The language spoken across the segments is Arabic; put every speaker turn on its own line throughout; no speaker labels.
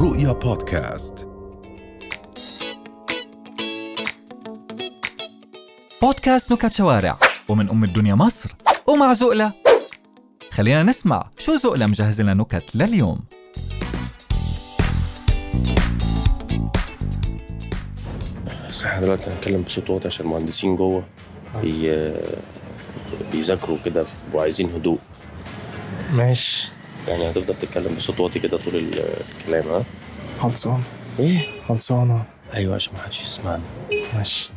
رؤيا بودكاست
بودكاست نكت شوارع ومن أم الدنيا مصر ومع زقلة خلينا نسمع شو زقلة مجهز لنا نكت لليوم
بس احنا دلوقتي هنتكلم بصوت واطي عشان المهندسين جوه بي... بيذاكروا كده وعايزين هدوء
ماشي
يعني هتفضل تتكلم بصوت واطي كده طول ال- الكلام ها
خلصان
ايه
خلصانة
ايوه عشان ما حدش يسمعنا
إيه؟ ماشي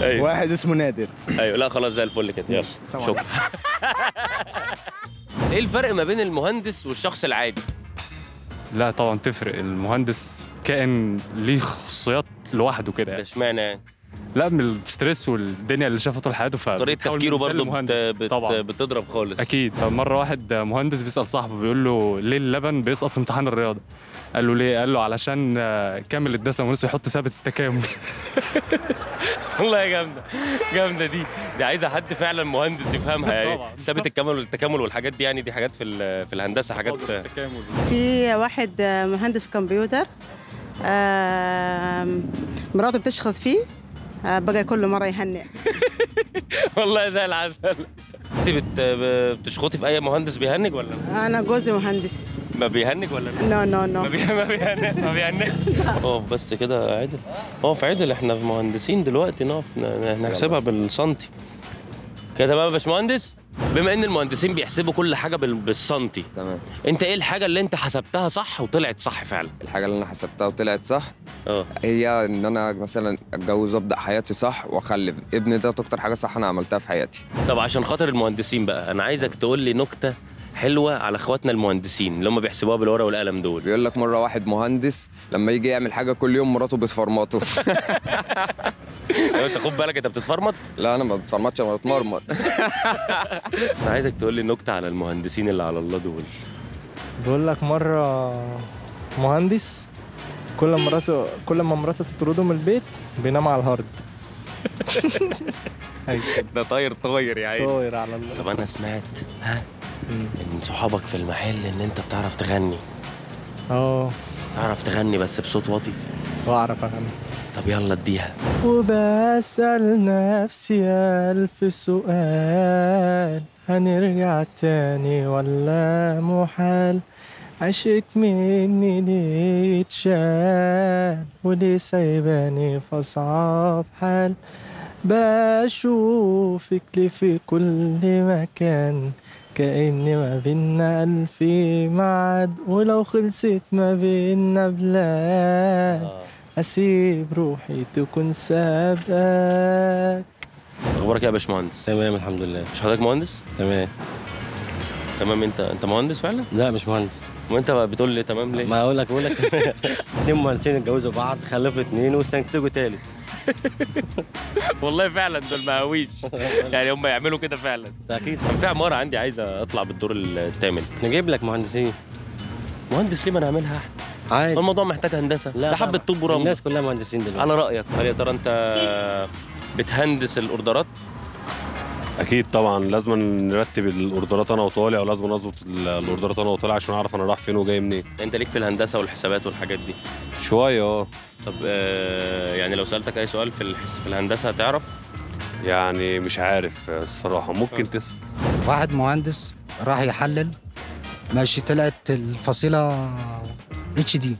ايوه
واحد اسمه نادر
ايوه لا خلاص زي الفل كده يلا شكرا ايه الفرق ما بين المهندس والشخص العادي
لا طبعا تفرق المهندس كائن ليه خصوصيات لوحده كده
ده
يعني.
اشمعنى يعني
لا من الستريس والدنيا اللي شافها طول حياته ف
طريقه تفكيره برضه بت... بت...
طبعا
بتضرب خالص
اكيد مره واحد مهندس بيسال صاحبه بيقول له ليه اللبن بيسقط في امتحان الرياضه قال له ليه قال له علشان آه، كامل الدسم ونسي يحط ثابت التكامل
والله يا جامده جامده دي دي عايزه حد فعلا مهندس يفهمها
طبعا.
يعني ثابت الكمل والتكامل والحاجات دي يعني دي حاجات في ال- في الهندسه حاجات
التكامل
في واحد مهندس كمبيوتر آم، مراته بتشخص فيه آه، بقى كل مره يهنئ
والله زي العسل انت بت... بتشخطي في اي مهندس بيهنج ولا لا؟
انا جوزي مهندس
ما بيهنج ولا لا؟
نو نو نو
ما بي... ما بيهنج ما بيهنج اقف بس كده عدل اقف عدل احنا مهندسين دلوقتي نقف ن- نحسبها بالسنتي كده تمام يا باشمهندس بما ان المهندسين بيحسبوا كل حاجه بال... بالسنتي
تمام
انت ايه الحاجه اللي انت حسبتها صح وطلعت صح فعلا
الحاجه اللي انا حسبتها وطلعت صح
اه
هي ان انا مثلا اتجوز وابدا حياتي صح واخلف ابني ده اكتر حاجه صح انا عملتها في حياتي
طب عشان خاطر المهندسين بقى انا عايزك تقول لي نكته حلوه على اخواتنا المهندسين اللي هم بيحسبوها بالورقه والقلم دول
بيقول لك مره واحد مهندس لما يجي يعمل حاجه كل يوم مراته بتفرمطه
لو انت خد بالك انت بتتفرمط
لا انا ما بتفرمطش انا بتمرمط
انا عايزك تقول لي نكته على المهندسين اللي على الله دول
بقول لك مرة مهندس كل ما مراته كل ما مراته تطرده من البيت بينام على الهارد
ده طاير طاير يا عيني
طاير على الله
طب انا سمعت ها من صحابك في المحل ان انت بتعرف تغني
اه
تعرف تغني بس بصوت واطي
واعرف اغني
طب يلا اديها
وبسأل نفسي ألف سؤال هنرجع تاني ولا محال عشقك مني ليه اتشال وليه سايباني فصعب حال بشوفك ليه في كل مكان كأن ما بينا ألف ميعاد ولو خلصت ما بينا بلاد أسيب روحي تكون سابقاك
اخبارك إيه يا باشمهندس
تمام الحمد لله
مش حضرتك مهندس
تمام
تمام انت انت مهندس فعلا
لا مش مهندس
وانت بقى بتقول لي تمام ليه
ما اقول لك بقول لك اتنين مهندسين اتجوزوا بعض خلفوا اتنين واستنتجوا تالت
والله فعلا دول مقاويش يعني هم يعملوا كده فعلا
ده اكيد
كان في عماره عندي عايزه اطلع بالدور الثامن
نجيب لك مهندسين
مهندس ليه ما انا اعملها احنا هو
عادي
الموضوع محتاج هندسه
لا
ده حبه
طبعا.
طوب ورمل
الناس كلها مهندسين دلوقتي
على رايك هل يا ترى انت بتهندس الاوردرات
اكيد طبعا لازم نرتب الاوردرات انا وطالع ولازم اظبط ال- الاوردرات انا وطالع عشان اعرف انا رايح فين وجاي منين
انت ليك في الهندسه والحسابات والحاجات دي
شويه اه
طب آه، يعني لو سالتك اي سؤال في الحس في الهندسه هتعرف
يعني مش عارف الصراحه
أه.
ممكن تسال
واحد مهندس راح يحلل ماشي طلعت الفصيلة اتش دي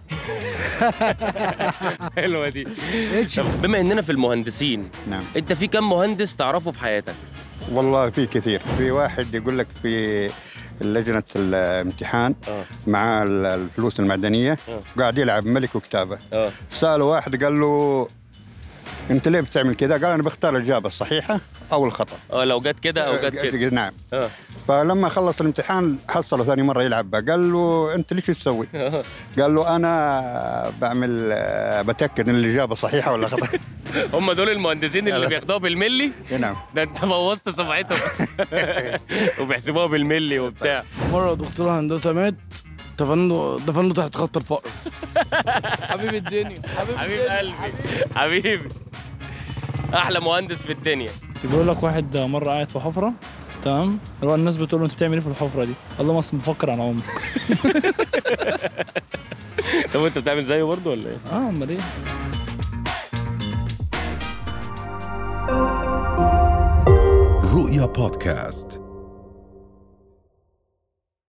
حلوه دي
اتش
طب بما اننا في المهندسين
نعم.
انت في كم مهندس تعرفه في حياتك
والله في كثير في واحد يقول لك في لجنة الامتحان
آه.
مع ال- الفلوس المعدنية
آه.
قاعد يلعب ملك وكتابة
اه
سأله واحد قال له أنت ليه بتعمل كذا؟ قال أنا بختار الإجابة الصحيحة أو الخطأ
اه لو جت كده او جت كده
نعم
اه
فلما خلص الامتحان حصله ثاني مرة يلعب بقى. قال له أنت ليش تسوي؟ قال له أنا بعمل آه، بتأكد إن الإجابة صحيحة ولا خطأ
هم دول المهندسين اللي بياخدوها بالملي
نعم
ده انت بوظت سمعتهم وبيحسبوها بالملي وبتاع
مرة دكتور هندسة مات دفنوا دفنوا تحت خط الفقر حبيب الدنيا
حبيب قلبي حبيبي احلى مهندس في الدنيا
بيقول لك واحد مرة قاعد في حفرة
تمام هو الناس بتقول له انت بتعمل ايه في الحفره دي اللهم اصل بفكر عن عمري
طب انت بتعمل زيه برضه ولا ايه؟
اه امال ايه
رؤيا بودكاست